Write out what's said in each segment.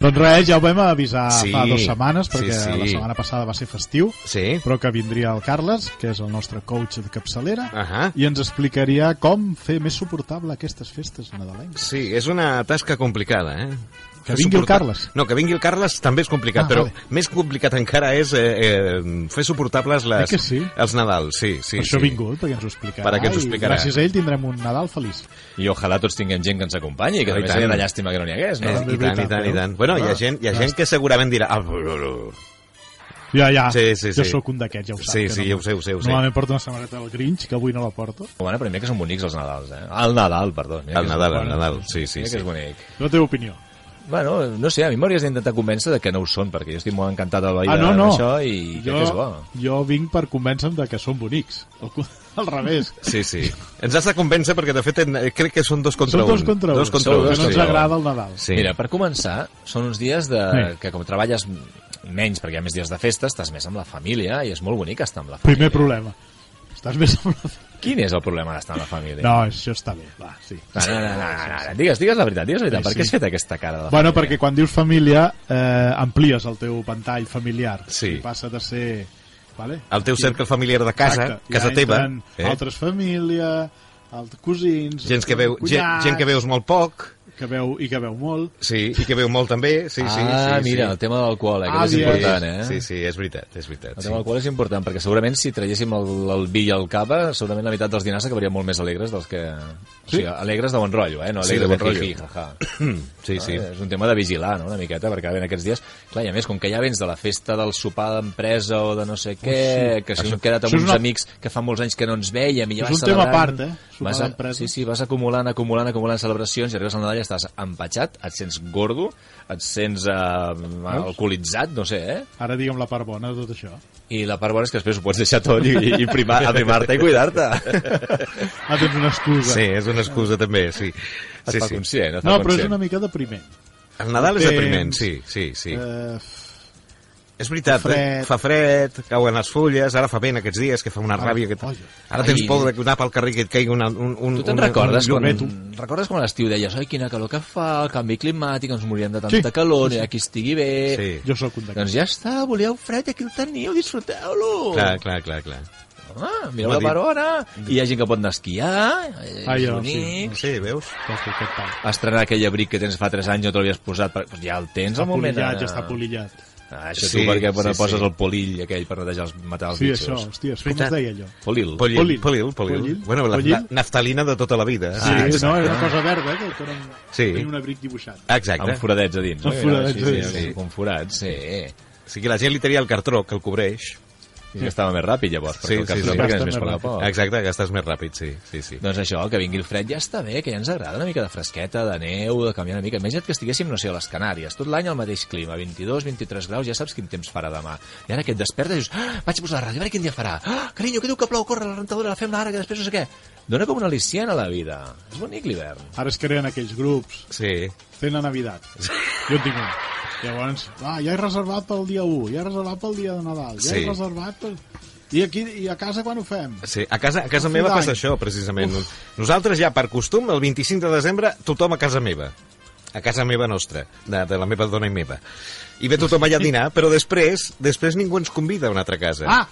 Doncs res, ja ho vam avisar Sí, fa dues setmanes, sí, perquè sí. la setmana passada va ser festiu, Sí. però que vindria el Carles, que és el nostre coach de capçalera, Ahà. i ens explicaria com fer més suportable aquestes festes nadalenques. Sí, és una tasca complicada, eh? Que vingui el Suportar- Carles. No, que vingui el Carles també és complicat, Ah, però vale. més complicat encara és eh, eh, fer suportables les, Eh que sí? els Nadals. Sí, sí, per això sí. he vingut, perquè ens ho explicarà. Perquè ens ho i explicarà. gràcies a ell tindrem un Nadal feliç. I ojalà tots tinguem gent que ens acompanyi, que Oh, i també tant. seria una llàstima que no n'hi hagués, Eh, no? Ara també I és tant, i veritat, tant, i veus? tant. Bueno, hi ha Ah, gent, hi ha ja gent està. que segurament dirà... "Ah, blu, blu". Ja, ja, Sí, sí, jo sí. sóc un d'aquests, ja ho saps. Sí, que sí, no, ja ho sé, ho sé, ho sé. Normalment porto una samarreta del Grinch, que avui no la porto. Bueno, però mira que són bonics els Nadals, eh? El Nadal, perdó. Mira El que és- Nadal, el Bueno, Nadal, sí, sí, Mira sí. que és bonic. La teva opinió. Bueno, no sé, a mi m'hauries d'intentar convèncer de que no ho són, perquè jo estic molt encantat de la vida Ah, no, no. amb això i crec que és bo. jo vinc per convèncer de que són bonics. Al, cu- al revés. Sí, sí. Ens has de convèncer perquè, de fet, en- eh, crec que són dos contra Són un. dos contra un. Dos contra Són un, dos que no sí. ens agrada el Nadal. Sí. Mira, per començar, són uns dies de... Sí. que com treballes menys, perquè hi ha més dies de festa, estàs més amb la família i és molt bonic estar amb la família. Primer problema. Estàs més amb la... Quin és el problema d'estar amb la família? No, això està bé, va, sí. No, no, no, no, no, no. Digues, digues la veritat, digues la Sí, veritat. per què has sí. fet aquesta cara de la Bueno, família? perquè quan dius família eh, amplies el teu ventall familiar. Sí. I passa de ser... Vale? El teu cercle familiar de casa, Exacte. casa ja teva, Eh? Altres família, alt... cosins... gent que, veu, gent, cunyats, gent que veus molt poc, Que veu, I que veu molt. sí, i que veu molt també, sí, sí. ah, sí, mira, sí. el tema de l'alcohol, eh, que és Àvies. important, eh? Sí, sí, és veritat, és veritat. El sí. tema del qual és important, perquè segurament si traguéssim el, el vi i el cava, segurament la meitat dels dinars acabarien molt més alegres dels que... O sigui, alegres de bon rotllo, eh? No Sí, de alegres bon de, rotllo. hi-hi, ha-ha. Sí, sí. No? És un tema de vigilar, no?, una miqueta, perquè ara en aquests dies... Clar, i a més, com que ja vens de la festa del sopar d'empresa o de no sé què, que si no hem quedat això amb és uns una- amics que fa molts anys que no ens veiem i ja És vas un tema celebrant, a part, eh? Sopar Vas a- d'empresa. Sí, sí, vas acumulant, acumulant, acumulant celebracions i arribes al Nadal i estàs empatxat, et sents gordo, et sents eh, alcoholitzat, no sé, eh? Ara digue'm la part bona de tot això. I la part bona és que després ho pots deixar tot i, i primar, aprimar-te i cuidar-te. Ah, tens una excusa. Sí, és una excusa també, sí. Es sí, fa sí. conscient, es fa No, però és conscient. una mica depriment. El Nadal és Temps. depriment, sí, sí, sí. Eh, És veritat, fa fred. eh? fa fred, cauen les fulles, ara fa vent aquests dies, que fa una ràbia. Que... Ai. Ara tens Ai. por de anar pel carrer que et caigui una, un, un, Tu te'n una- recordes, un quan, llumet, recordes quan a l'estiu deies oi, quina calor que fa, el canvi climàtic, ens morirem de tanta Sí. sí. calor, sí. aquí estigui bé... Sí. jo sóc un d'aquests. Doncs ja està, volíeu fred, aquí el teniu, disfruteu-lo! Clar, clar, clar, clar. Ah, mireu M'ha la dit- part bona, i hi ha gent que pot anar a esquiar, eh, Ah, és jo, sí. bonic... Sí, veus? Escolta, Doncs aquest pal. Estrenar aquell abric que tens fa 3 anys no te l'havies posat, per... doncs ja el tens Està al moment. polillat, ara. ja està polillat. Ah, això Sí, tu perquè sí, sí, poses sí. el polill aquell per netejar els, matar els Sí, bitxos. això, hòstia, com Veritat. es deia allò? Polil. Polil, Polil. polil, polil. Polil. Bueno, la, Polil. la naftalina de tota la vida. Sí, Ah, exacte. no, era una cosa verda, eh, que era un, Sí. tenia un abric dibuixat. Exacte. Amb foradets a dins. Amb no? foradets Sí, a sí, dins. sí, Com forats, sí. O sigui, la gent li tenia el cartró, que el cobreix. I que estava més ràpid, llavors, perquè Sí, el sí, cap sí. sí, sí, Bastant més més per la ràpid. por. Exacte, gastes més ràpid, sí, sí, sí. Doncs això, que vingui el fred ja està bé, que ja ens agrada una mica de fresqueta, de neu, de canviar una mica. Imagina't que estiguéssim, no sé, a les Canàries, tot l'any al mateix clima, 22, 23 graus, ja saps quin temps farà demà. I ara que et despertes i dius, ah, vaig a posar la ràdio, a veure quin dia farà. Ah, carinyo, que diu que plou, corre, la rentadora, la fem ara, que després no sé què. Dóna com una al·licient a la vida. És bonic l'hivern. Ara es creen aquells grups, Sí. fent a Navidad. Jo en tinc un. Llavors, ah, ja he reservat pel dia 1, ja he reservat pel dia de Nadal, ja Sí. he reservat pel... I, aquí, I a casa quan ho fem? Sí, a casa, a casa Un meva d'any. passa això, precisament. Nosaltres ja, per costum, el 25 de desembre, tothom a casa meva. A casa meva nostra, de, de la meva dona i meva. I ve tothom allà a dinar, però després després ningú ens convida a una altra casa. Ah!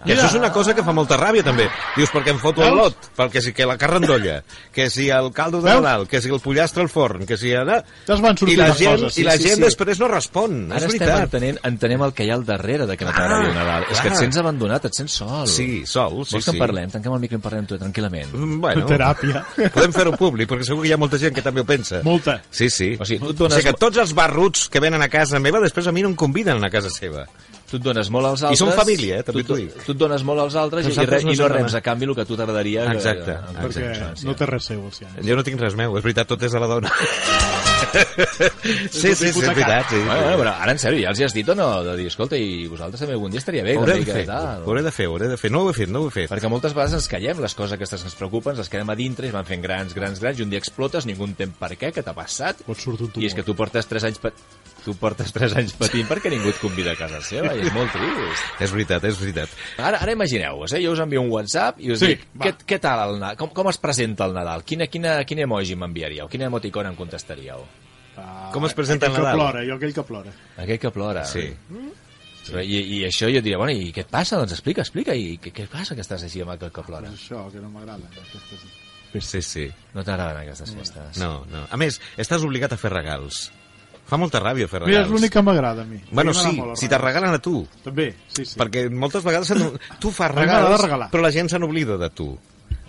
I això és una cosa que fa molta ràbia, també. Dius, perquè em foto el Veus? lot, perquè si que la carrandolla, que si el caldo de Veus? Nadal, que si el pollastre al forn, que si... Ara... Ja es van I sortir la les gent, coses, i sí, la sí, gent sí. després no respon, Ara és estem veritat. entenent, entenem el que hi ha al darrere de que no t'agradi Clar, el Nadal. És que clar. et sents abandonat, et sents sol. Sí, sol, sí, Vols que sí. en parlem? Tanquem el micro i en parlem tu, tranquil·lament. Mm, Bueno, Teràpia. podem fer-ho públic, perquè segur que hi ha molta gent que també ho pensa. Molta. Sí, sí. O sigui, tu et o dones- sigui que tots els barruts que venen a casa meva, després a mi no em conviden a casa seva. Tu et dones molt als I altres... som família, eh, també tu, t'ho dic. Tu et dones molt als altres i, i, Nosaltres re, no i no som rems demà. a canvi el que a tu t'agradaria... que- Exacte, en Perquè conseqüència. no té res seu, els cians. Jo no tinc res meu, és veritat, tot és de la dona. sí, sí, sí, és hipotecat. veritat. Sí, sí. Bueno, bueno, però ara en sèrio, ja els hi has dit o no? De dir, escolta, i vosaltres també algun dia estaria bé Ho una hauré de mica fer, de tal. ho hauré de fer, ho hauré de fer. No ho he fet, no ho he fet. Perquè moltes vegades ens callem les coses aquestes que ens preocupen, ens les quedem a dintre i es van fent grans, grans, grans, i un dia explotes, ningú entén per què, què t'ha passat, Pot sortir un tumor. i és que tu portes 3 anys... Pa... Tu portes 3 anys patint perquè ningú et convida a casa seva i és molt trist. És veritat, és veritat. Ara, ara imagineu-vos, eh? jo us envio un WhatsApp i us Sí, sí, dic, va. què, què tal el Nadal? Com, com es presenta el Nadal? Quina, quina, quin emoji m'enviaríeu? Quina emoticona em contestaríeu? Ah, Com es presenta aquell Nadal? Que plora, jo aquell que plora. Aquell que Ah, plora. Sí. Però, i, I això jo diria, bueno, i què et passa? Doncs explica, explica. I què, què passa que estàs així amb aquell que plora? És això, que no m'agrada. aquestes- Sí, sí. No t'agraden aquestes festes. No, no. A més, estàs obligat a fer regals. Fa molta ràbia fer regals. Mira, és l'únic que m'agrada a mi. Bueno, A mi m'agrada sí, molt el si te regal. regalen a tu. També, sí, sí. Perquè moltes vegades se n'o- tu fas mi m'agrada regals, regalar. però la gent se n'oblida de tu.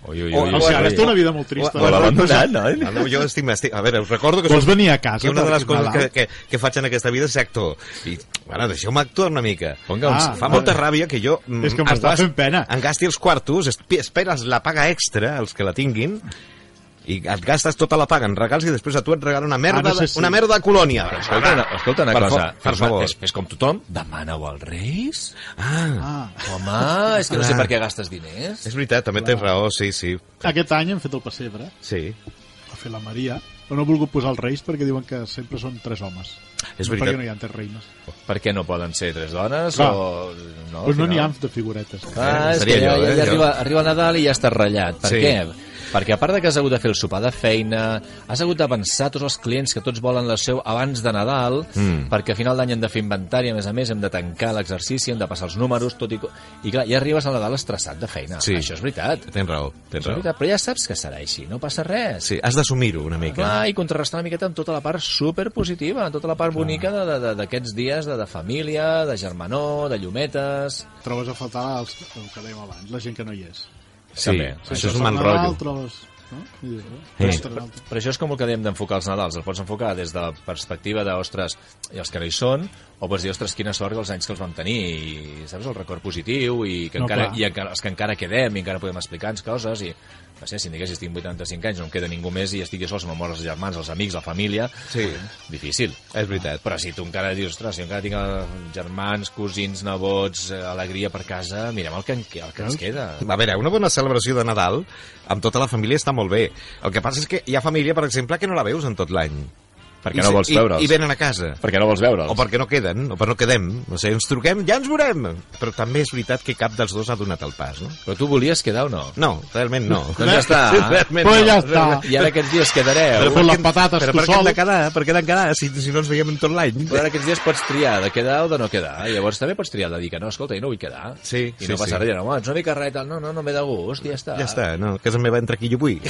Ui, ui, O- ui. O ui. sigui, ara té una vida molt trista. O- o l'abandonat, No, no, jo estic, estic... A veure, us recordo que... Vols soc- venir a casa? Que una de perquè les és coses que, Nadal? que, que faig en aquesta vida és ser actor. I, bueno, deixeu-me actuar una mica. Vinga, Ah, Fa vale. molta ràbia que jo... mm, És que m'està es gas- fent pena. Em gasti els quartos, esp- esperes la paga extra, els que la tinguin, i et gastes tota la paga en regals i després a tu et regalen una merda, Ah, no sé de- si- Ah, una merda de colònia. Escolta, una- escolta una Per cosa. fa- per Fes- favor. Fes, fes com tothom, demana-ho als Reis. Ah, Ah, Home, és que no sé per què gastes diners. és veritat, també tens raó, sí, sí. aquest any hem fet el pessebre, Sí, a fer la Maria, però no he volgut posar els reis perquè diuen que sempre són tres homes. és no perquè veritat. no hi ha tres reines. Per què no poden ser tres dones? Clar. O... No, Doncs pues no al n'hi ha final. de figuretes. Ah, és que Seria ja, jo, ja, eh, ja jo. arriba, arriba Nadal i ja estàs ratllat. Per Sí. què? Perquè a part de que has hagut de fer el sopar de feina, has hagut de pensar tots els clients que tots volen la seu abans de Nadal, mm. perquè a final d'any hem de fer inventari, a més a més hem de tancar l'exercici, hem de passar els números, tot i... co- I clar, ja arribes a Nadal estressat de feina. Sí. Això és veritat. Tens raó, tens Això és raó. veritat, però ja saps que serà així, no passa res. Sí, has d'assumir-ho una mica. Clar, i contrarrestar una miqueta amb tota la part superpositiva, amb tota la part bonica de- de- de- d'aquests dies de, de família, de germanor, de llumetes... Trobes a faltar els, el que dèiem abans, la gent que no hi és. Sí, També. això és Trobes un mal el Nadal, rotllo. Trobes... No? I dius, eh? Eh. ostres, altre. Però això és com el que dèiem d'enfocar els Nadals. El pots enfocar des de la perspectiva de, ostres, i els que no hi són, o pots dir, ostres, quina sort que els anys que els vam tenir, i saps, el record positiu, i, que No, no, encara, clar. i encara, els que encara quedem, i encara podem explicar-nos coses, i no sé, si em diguessis, tinc 85 anys, no em queda ningú més, i estic jo sol, se me'n moren els germans, els amics, la família... Sí. Difícil. És veritat. Però si tu encara dius, ostres, jo encara tinc eh, germans, cosins, nebots, eh, alegria per casa, mirem el que, en- el que ens queda. A veure, una bona celebració de Nadal amb tota la família està molt bé. El que passa és que hi ha família, per exemple, que no la veus en tot l'any. Perquè I no se- vols i- veure'ls. I venen a casa. Perquè no vols veure'ls. O perquè no queden, o per no quedem. No sé, ens truquem, ja ens veurem! Però també és veritat que cap dels dos ha donat el pas, no? Però tu volies quedar o no? No, realment no. Doncs ja està. realment Però no. ja està. I ara aquests dies quedareu. Però fot les patates Però tu per què hem sol. de quedar? Per què hem de quedar si, si no ens veiem en tot l'any? Però ara aquests dies pots triar de quedar o de no quedar. Llavors també pots triar de dir que no, escolta, jo no vull quedar. Sí, I sí, no passa sí. res, dir, home, ets una mica reta, no, no, no m'he de gust, i ja està. Ja està, no, casa meva entra aquí Ah, jo vull.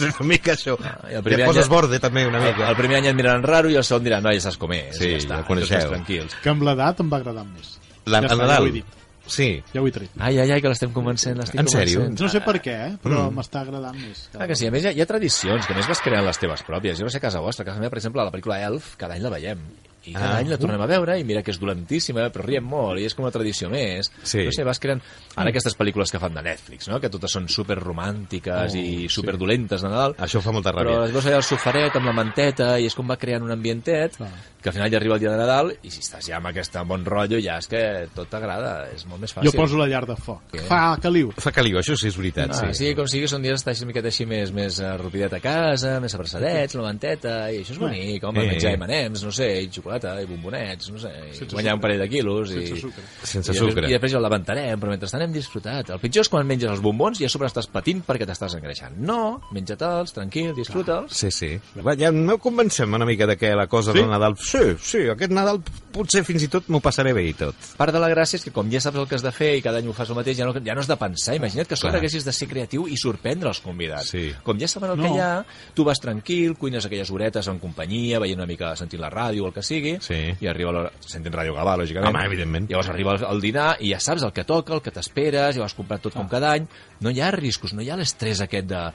És una mica això. Ja i el primer any poses ja- borde també una El, mica. el primer any et miraran raro i el segon diran, no, ja saps com és, Sí, ja està, ja ho coneixeu. tots tranquils. Que amb l'edat em va agradar més. La, ja està, el Ja ho he Nadal. dit. Sí. Ja ho he tret. Ai, ai, ai, que l'estem convencent, l'estic En sèrio? convencent. No sé per què, eh? però Mm. m'està agradant més. Clar Ah, que sí, a més hi ha, hi ha tradicions, que a més vas creant les teves pròpies. Jo no sé a casa vostra, a casa meva, per exemple, la pel·lícula Elf, cada any la veiem. I cada Ah. any la tornem a veure i mira que és dolentíssima, però riem molt i és com una tradició més. Sí. No sé, vas creant... Ara aquestes pel·lícules que fan de Netflix, no? que totes són superromàntiques oh, i superdolentes de Nadal, Això fa molta però ràbia. es veus allà al sofaret amb la manteta i és com va creant un ambientet Clar. que al final ja arriba el dia de Nadal i si estàs ja amb aquest bon rotllo ja és que tot t'agrada, és molt Ah, més fàcil. Jo poso la llar de foc. Què? Fa caliu. Fa caliu, això sí és veritat, Ah, sí, sí. sí, com sigui, són dies d'estar així una miqueta així més, més eh, ropidet a casa, més abraçadets, la manteta, i això és bonic, home, Eh. menjar M&M's, no sé, i xocolata, i bombonets, no sé, i Sense guanyar un sucre. parell de quilos. Sense i... sucre. Sense i després- sucre. I després ja el levantarem, però mentrestant hem disfrutat. El pitjor és quan menges els bombons i a sobre estàs patint perquè t'estàs engreixant. No, menja-te'ls, tranquil, disfruta-els. Sí, sí. Va, ja no convencem una mica de que la cosa Sí? del Nadal... Sí, sí, aquest Nadal potser fins i tot m'ho passaré bé i tot. Part de la gràcia és que com ja saps el que has de fer i cada any ho fas el mateix, ja no, ja no has de pensar. Imagina't que a sobre Clar. haguessis de ser creatiu i sorprendre els convidats. Sí. Com ja saben el No. que hi ha, tu vas tranquil, cuines aquelles horetes en companyia, veient una mica, sentint la ràdio o el que sigui, Sí. i arriba l'hora... Sentint Ràdio Gavà, lògicament. Home, evidentment. Llavors arriba el, el dinar i ja saps el que toca, el que t'esperes, ja ho has comprat tot com cada any. No hi ha riscos, no hi ha l'estrès aquest de... "Ah,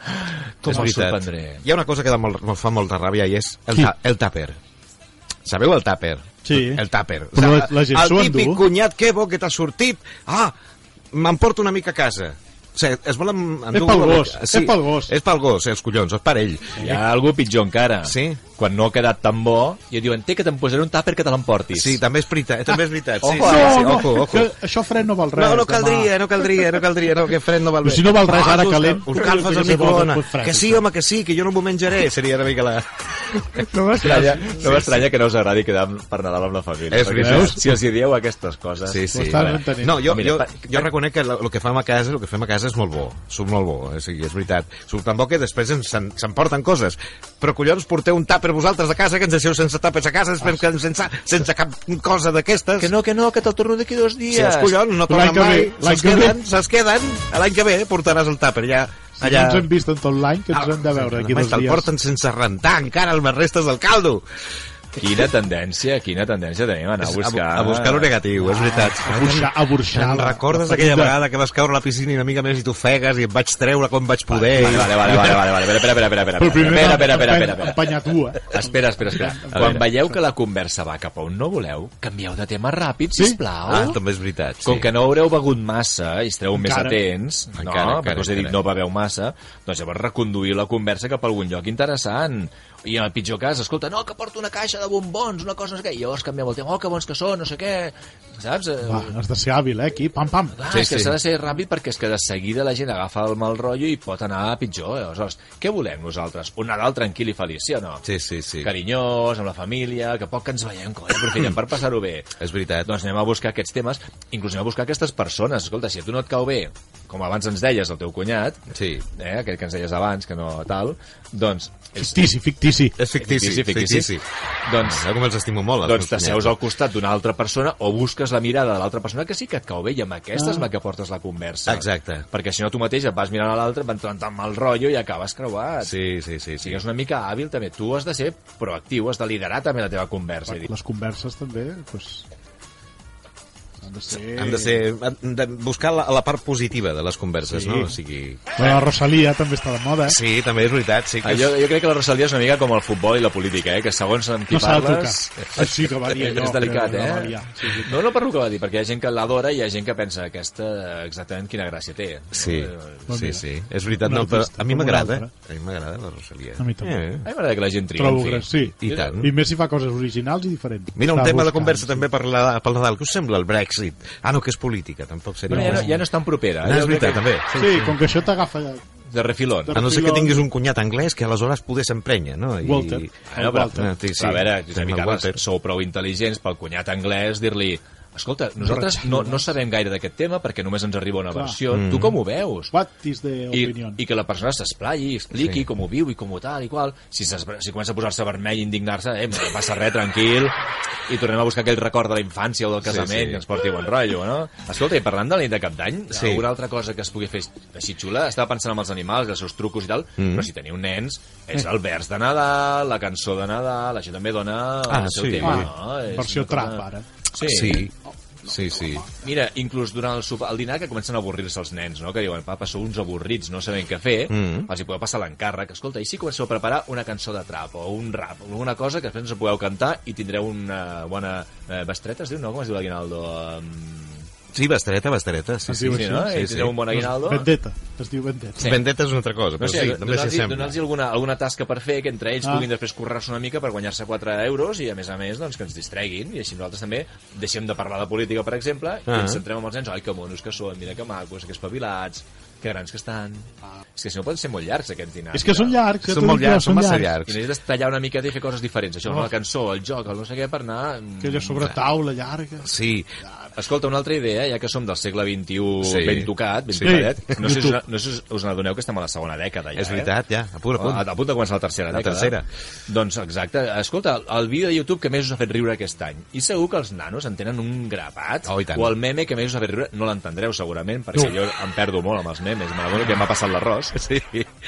Com és el veritat. sorprendré? Hi ha una cosa que da molt, em fa molta ràbia i és el, Qui? ta el tàper. Sabeu el tàper? Sí. El tàper. Però la- la gent s'ho el típic endú. cunyat que bo que t'ha sortit. Ah, m'emporto una mica a casa. O sigui, es volen endur... pel una gos, mica. és pel gos. És pel gos, eh, els collons, és per ell. Hi ha algú pitjor encara. Sí. Quan no ha quedat tan bo, i et diuen, té que te'n posaré un tàper que te l'emportis. Sí, també és veritat. eh, També és veritat. Sí, Ojo, sí, Ah, sí, no, ojo, ojo. Que això fred no val res. no, no demà. caldria, no caldria, no caldria, no, que fred no val Però bé. Ah, si no val res, ara tu calent, Us calfes que el se vol, microones. pues fred, Que sí, això. home, que sí, que jo no m'ho menjaré. Seria una mica la... No m'estranya. Estranya, no m'estranya que no us agradi quedar amb- per Nadal amb la família. És perquè veritat. Si els hi dieu aquestes coses... Sí, sí. estàs Vale. entenent. No, jo, Mira, jo, pa- jo reconec que el que fem a casa, el que fem a casa és molt bo, surt molt bo, eh, o sigui, és veritat. Surt tan bo que després ens- se'n se'n porten coses. Però, collons, porteu un tàper vosaltres a casa, que ens deixeu sense tàpers a casa, després que ens- sense, sense cap cosa d'aquestes. Que no, que no, que te'l torno d'aquí dos dies. Si els collons no L'any tornen que mai, ve, l'any se'ls que ve. queden, se'ls queden, l'any que ve eh, portaràs el tàper, ja, Si no allà... Ah, ens hem vist en tot l'any, que ens hem de veure aquí dos Te'l dies. porten sense rentar encara amb les restes del caldo. Quina tendència, quina tendència tenim a anar a buscar... a buscar lo negatiu, és veritat. Ah, A burxar, a burxar. Te'n recordes aquella vegada que vas caure a la piscina i una mica més i t'ofegues i et vaig treure com vaig poder? Vale, vale, vale, vale, vale, vale, espera, espera, espera, espera, Però primer espera, espera, espera, espera, espera. Empanyar tu, eh? Espera, espera, espera. Quan veieu que la conversa va cap a on no voleu, canvieu de tema ràpid, Sí? sisplau. Ah, també és veritat. Sí. Com que no haureu begut massa i estareu més Encara. atents, no, Encara, encara, perquè us he dit encara. no beveu massa, doncs llavors reconduir la conversa cap a algun lloc interessant. I en el pitjor cas, escolta, no, que porto una caixa de bombons, una cosa, no sé què, i llavors canviem el tema, oh, que bons que són, no sé què, saps? Va, has de ser hàbil, eh, aquí. Pam, pam. Clar, Sí, sí, és que sí. s'ha de ser ràpid perquè és que de seguida la gent agafa el mal rotllo i pot anar a pitjor. Eh? Aleshores, què volem nosaltres? Un Nadal tranquil i feliç, sí o no? Sí, sí, sí. Carinyós, amb la família, que poc que ens veiem, coi, aprofitiem per passar-ho bé. És veritat. Doncs anem a buscar aquests temes, inclús anem a buscar aquestes persones. Escolta, si a tu no et cau bé, com abans ens deies, el teu cunyat, Sí. eh, aquell que ens deies abans, que no tal, doncs... És Fictici, fictici. És fictici, fictici. fictici. Doncs, Sabeu com els estimo molt? els doncs meus t'asseus cunyats? al costat d'una altra persona o busques la mirada de l'altra persona que sí que et cau bé i amb aquesta és la que portes la conversa. Exacte. Perquè si no tu mateix et vas mirant a l'altre, et van entrant amb el rotllo i acabes creuat. Sí, sí, sí. sí. Sigues una mica hàbil també. Tu has de ser proactiu, has de liderar també la teva conversa. I dir, Les converses també, doncs... Han de ser... Hem de, ser, hem de buscar la, la part positiva de les converses, Sí. no? O sigui... Bueno, la Rosalia també està de moda, eh? Sí, també és veritat. Sí que Ah, és... jo, jo crec que la Rosalia és una mica com el futbol i la política, eh? que segons amb qui No s'ha de tocar. parles... Eh, Ah, sí que va dir allò, És delicat, que eh? va liar. Sí, sí. No, no per lo que va dir, perquè hi ha gent que l'adora i hi ha gent que pensa aquesta eh, exactament quina gràcia té. Sí, Eh, Bon sí, dia. sí. És veritat, Un no, però artista, a mi com un m'agrada. altre. A mi m'agrada la Rosalia. Eh, A mi també. A mi m'agrada que la gent triomfi. Trobo gràcies, sí. I tant. I més si fa coses originals i diferents. Mm. Mira, un Està tema de buscant, conversa sí. també per la, per Nadal. Què us sembla el Brexit? Ah, no, que és política, tampoc seria... Però ja no, res. ja no és tan propera. No, eh? és Jo crec veritat, també. Sí, com que això t'agafa... que De refilón. De- A no ser que Filon. tinguis un cunyat anglès que aleshores pogués emprenya, no? I... Walter. Ah, no, però, Ah, sí, sí. a veure, Josep i Amb el Carles, Walter. sou prou intel·ligents pel cunyat anglès dir-li escolta, nosaltres no, no sabem gaire d'aquest tema perquè només ens arriba una Clar. versió. Mm. Tu com ho veus? What is the I, opinion? I que la persona s'esplayi, expliqui Sí. sí. com ho viu i com ho tal i qual. Si, s'es- si comença a posar-se vermell i indignar-se, eh, no passa res, tranquil, i tornem a buscar aquell record de la infància o del casament Sí, sí. que ens porti bon rotllo, no? Escolta, i parlant de la nit de cap d'any, Sí. sí. alguna altra cosa que es pugui fer així xula? Estava pensant en els animals, els seus trucos i tal, mm. però si teniu nens, és el vers de Nadal, la cançó de Nadal, això també dona Ah, el seu sí. tema, no? Ah, És versió una cosa- trap, ara. Sí. sí. Sí, sí, sí. Mira, inclús durant el, sopar, el dinar que comencen a avorrir-se els nens, no? que diuen, papa, sou uns avorrits, no sabem què fer, Mm. mm. els hi podeu passar l'encàrrec. Escolta, i si comenceu a preparar una cançó de trap o un rap, o alguna cosa que després ens ho podeu cantar i tindreu una bona... Eh, bestreta es diu, no? Com es diu l'Aguinaldo? Um, Sí, bastareta, bastareta. Sí, Es sí. diu sí, no? així? I tindreu un bon aguinaldo? Vendetta, es diu Vendetta. Sí. Vendetta és una altra cosa, No però sé, sí, també s'hi donar-los sembla. donar alguna, alguna tasca per fer que entre ells Ah. ah. puguin després currar-se una mica per guanyar-se 4 euros i a més a més doncs, que ens distreguin i així nosaltres també deixem de parlar de política per exemple i Ah. ens centrem amb els nens ai que monos que són, mira que macos, que espavilats que grans que estan és que si no poden ser molt llargs aquests Ah. dinars És que són llargs, ja t'ho Ah, Són molt dic jo, llargs, són massa i llargs. necessites tallar una miqueta i fer coses diferents això, no. Oh. la cançó, el joc, el no sé què per anar mm, Aquella sobretaula llarga. Ah. Sí, Escolta, una altra idea, ja que som del segle XXI Sí. ben tocat, ben Sí. tocadet, no sé si YouTube. us, no sé si us n'adoneu que estem a la segona dècada ja, és eh? veritat, ja, a punt a A, punt. a punt de començar la tercera La dècada. tercera. Doncs exacte. Escolta, el vídeo de YouTube que més us ha fet riure aquest any. I segur que els nanos en tenen un grapat. Oh, i tant. o el meme que més us ha fet riure, no l'entendreu segurament, perquè jo em perdo molt amb els memes, m'adono que m'ha passat l'arròs. Sí.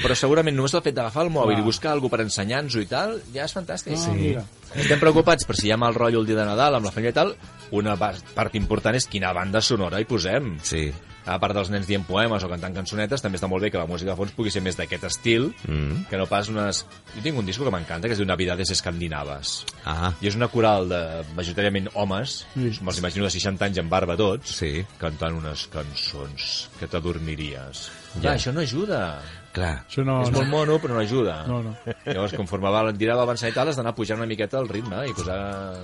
Però segurament només el fet d'agafar el mòbil i buscar alguna per ensenyar-nos-ho i tal, ja és fantàstic. Ah, mira. Estem preocupats per si hi ha mal rotllo el dia de Nadal amb la família i tal. Una ba- part important és quina banda sonora hi posem. Sí. A part dels nens dient poemes o cantant cançonetes, també està molt bé que la música de fons pugui ser més d'aquest estil, Mm. que no pas unes... Jo tinc un disco que m'encanta, que es diu Navidades Escandinaves. Ah, I és una coral de majoritàriament homes, Sí. me'ls imagino de 60 anys amb barba tots, Sí. cantant unes cançons que t'adormiries. Ja. Ja, yeah. això no ajuda. clar. Això no... No, és no. molt mono, però no ajuda. No, no. Llavors, conforme va, dirà l'avançar i tal, has d'anar pujant una miqueta el ritme i posar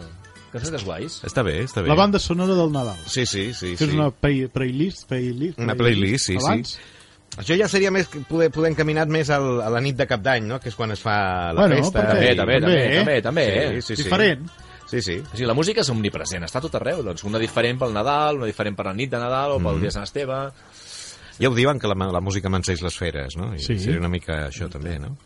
cançonetes guais. Està bé, està bé. La banda sonora del Nadal. Sí, sí, sí. Que és sí. una play- playlist, playlist, Una playlist, sí, Abans, sí. Això ja seria més poder, poder encaminat més al, a la nit de cap d'any, no? que és quan es fa la Bueno, festa. perquè- i- També, també, també, eh? també, també, Sí, eh? sí, sí. Diferent. Sí, sí. O sigui, la música és omnipresent, està a tot arreu. Doncs una diferent pel Nadal, una diferent per la nit de Nadal o Mhm. pel dia de Sant Esteve. Ja ho diuen, que la, ma- la música m'enceix les feres, no? I Sí. Seria una mica això, també, no?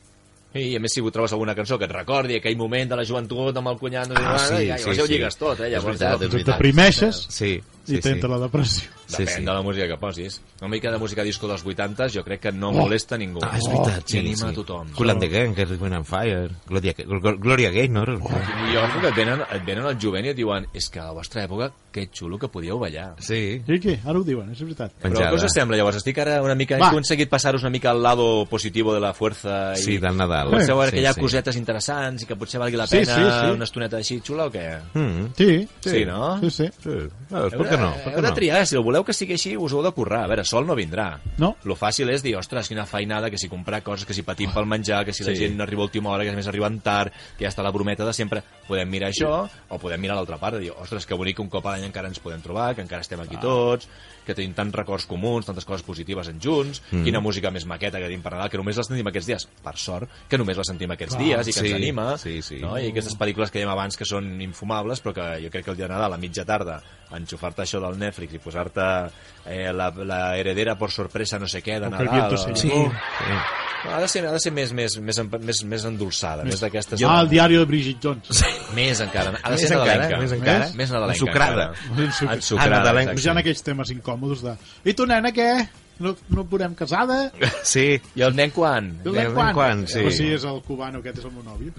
I, a més, si ho trobes alguna cançó que et recordi aquell moment de la joventut amb el cunyat, Ah, ah, sí, sí, ja, sí, sí, ja ho sí. lligues tot, eh? És Llavors, veritat, és Et veritat. deprimeixes Sí, i sí, sí. t'entra la depressió. Sí, Depèn sí. de la música que posis. Una mica de música disco dels 80 jo crec que no Oh. molesta ningú. Ah, és veritat, I anima a tothom. Cool and the Gang, que Wind and Fire, Gloria, Gl- Gloria Gaynor... Oh. I jo crec que et venen, et venen al jovent i et diuen és que a la vostra època, que xulo que podíeu ballar. Sí, I què? Ara ho diuen, és veritat. penjada. Però què us sembla, llavors? Estic ara una mica... Va. He aconseguit passar-vos una mica al lado positivo de la fuerza i... Sí, del Nadal. Penseu ara Sí, que hi ha sí. cosetes interessants i que potser valgui la Sí, pena sí, sí. una estoneta així xula o què? Mm. Sí, Sí, no? Sí, sí. Sí, veus, per què no? Per heu què de no? triar, si el voleu que sigui així us ho heu de currar, a veure, sol no vindrà No. lo fàcil és dir, ostres, quina feinada que si comprar coses, que si patim pel menjar, que si la Sí. gent no arriba a última hora, que a més arriben tard que ja està la brometa de sempre, podem mirar això o podem mirar l'altra part, de dir, ostres, que bonic que un cop a l'any encara ens podem trobar, que encara estem aquí tots que tenim tants records comuns, tantes coses positives en junts, Mm. quina música més maqueta que tenim per Nadal, que només la sentim aquests dies, per sort que només la sentim aquests dies i que Sí, ens anima sí, sí. No? i aquestes pel·lícules que dèiem abans que són infumables, però que jo crec que el dia de Nadal, a mitja tarda, enxufar-te això del Netflix i posar-te eh, la, la heredera por sorpresa no sé què de O que el Nadal... viento o- se Sí. llevó. Ha de ser, ha de ser més, més, més, emp- més, més endolçada, més d'aquestes... Ah, el diari de Bridget Jones. Més encara, ha de Més ser encara, nadalenca. més encara. Més nadalenca. Ensucrada. encara. Ensucrada. Ah, Ensucrada, nadalenca. exacte. Hi ha aquells temes incòmodes de... I tu, nena, què? No, no podem casada? Sí, I el nen quan? I el nen nen quan? quan, sí. O sigui, és el cubano, aquest és el meu nòvio.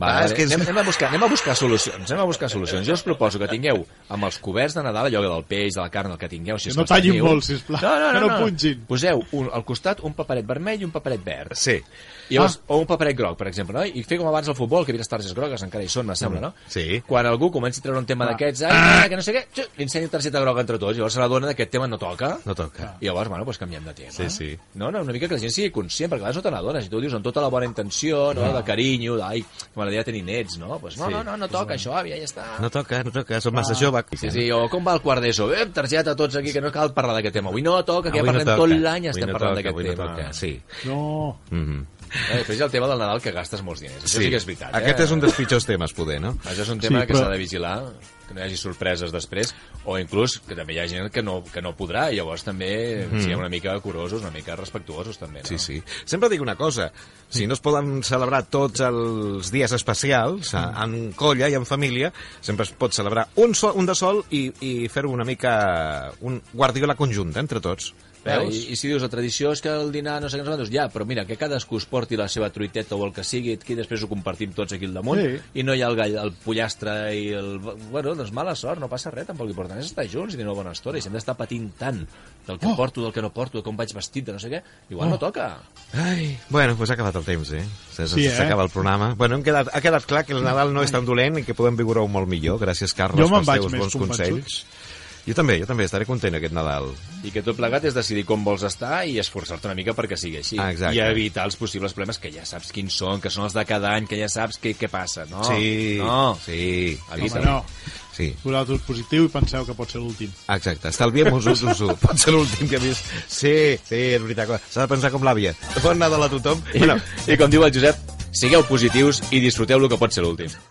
Va, Ah, és és que que és- anem, anem, a buscar, anem a buscar solucions, anem a buscar solucions. Jo us proposo que tingueu amb els coberts de Nadal, allò del peix, de la carn, el que tingueu, si és Que no els teniu. tallin molt, sisplau, No, no, que no, no no. pungin. Poseu un, al costat un paperet vermell i un paperet verd. sí. I llavors, ah. o un paperet groc, per exemple, no? I fer com abans el futbol, que havia les targetes grogues, encara hi són, me sembla, no? Mm, Sí. Quan algú comenci a treure un tema d'aquests, ah. que no sé què, xut, li ensenya targeta groga entre tots, llavors se l'adonen que aquest tema no toca. No toca. I llavors, bueno, doncs canviem de tema. Sí, sí. No, no, una mica que la gent sigui conscient, perquè a vegades no te n'adones, i tu ho dius amb tota la bona intenció, no, de carinyo, d'ai, que m'agradaria tenir nets, no? Pues no, Sí. no, no, no toca això, àvia, ja està. No toca, no toca, som massa jove. Ah. Sí, sí, o com va el quart d'ESO? Eh, targeta a tots aquí, que no cal parlar d'aquest tema. Avui no toca, que Avui ja parlem toca, tot avui l'any, estem no parlant toca, avui d'aquest no tema. toca, Sí. No. Mhm. Eh, després hi ha el tema del Nadal que gastes molts diners. Això sí, que és veritat. Aquest eh? és un dels pitjors temes, poder, no? Això és un tema Sí, sí, que però- s'ha de vigilar, que no hi hagi sorpreses després, o inclús que també hi ha gent que no, que no podrà, i llavors també mm. siguem una mica curosos, una mica respectuosos també, no? Mhm. Sí, sí. Sempre dic una cosa, si no es poden celebrar tots els dies especials, a- en colla i en família, sempre es pot celebrar un, sol, un de sol i, i fer una mica un guardiola conjunta entre tots. Veus? Veus? I, I si dius, la tradició és que el dinar no sé què, no sé quantos", ja, però mira, que cadascú es porti la seva truiteta o el que sigui, aquí després ho compartim tots aquí al damunt, Sí. i no hi ha el gall, el pollastre i el... Bueno, doncs mala sort, no passa res, tampoc l'important és estar junts i tenir una bona estona, i si hem d'estar patint tant del que oh. porto, del que no porto, de com vaig vestit, de no sé què, igual oh. no toca. Ai, bueno, doncs ha acabat el temps, eh? S'ha Sí, eh? s'acaba el programa. Bueno, hem quedat, ha quedat clar que el Nadal no és tan dolent i que podem viure-ho molt millor. Gràcies, Carles, Jo me'n pels vaig teus més bons convençut. consells. Jo també, jo també estaré content aquest Nadal. I que tot plegat és decidir com vols estar i esforçar-te una mica perquè sigui així. Ah, exacte. I evitar els possibles problemes que ja saps quins són, que són els de cada any, que ja saps què, què passa, no? sí, No. sí, Evita. Home, no. sí. Vosaltres positiu i penseu que pot ser l'últim. Exacte, estalviem-nos un susu. Pot ser l'últim que he vist. Sí, sí, és veritat. S'ha de pensar com l'àvia. Bon Nadal a tothom. I, Bueno, I com diu el Josep, sigueu positius i disfruteu el que pot ser l'últim.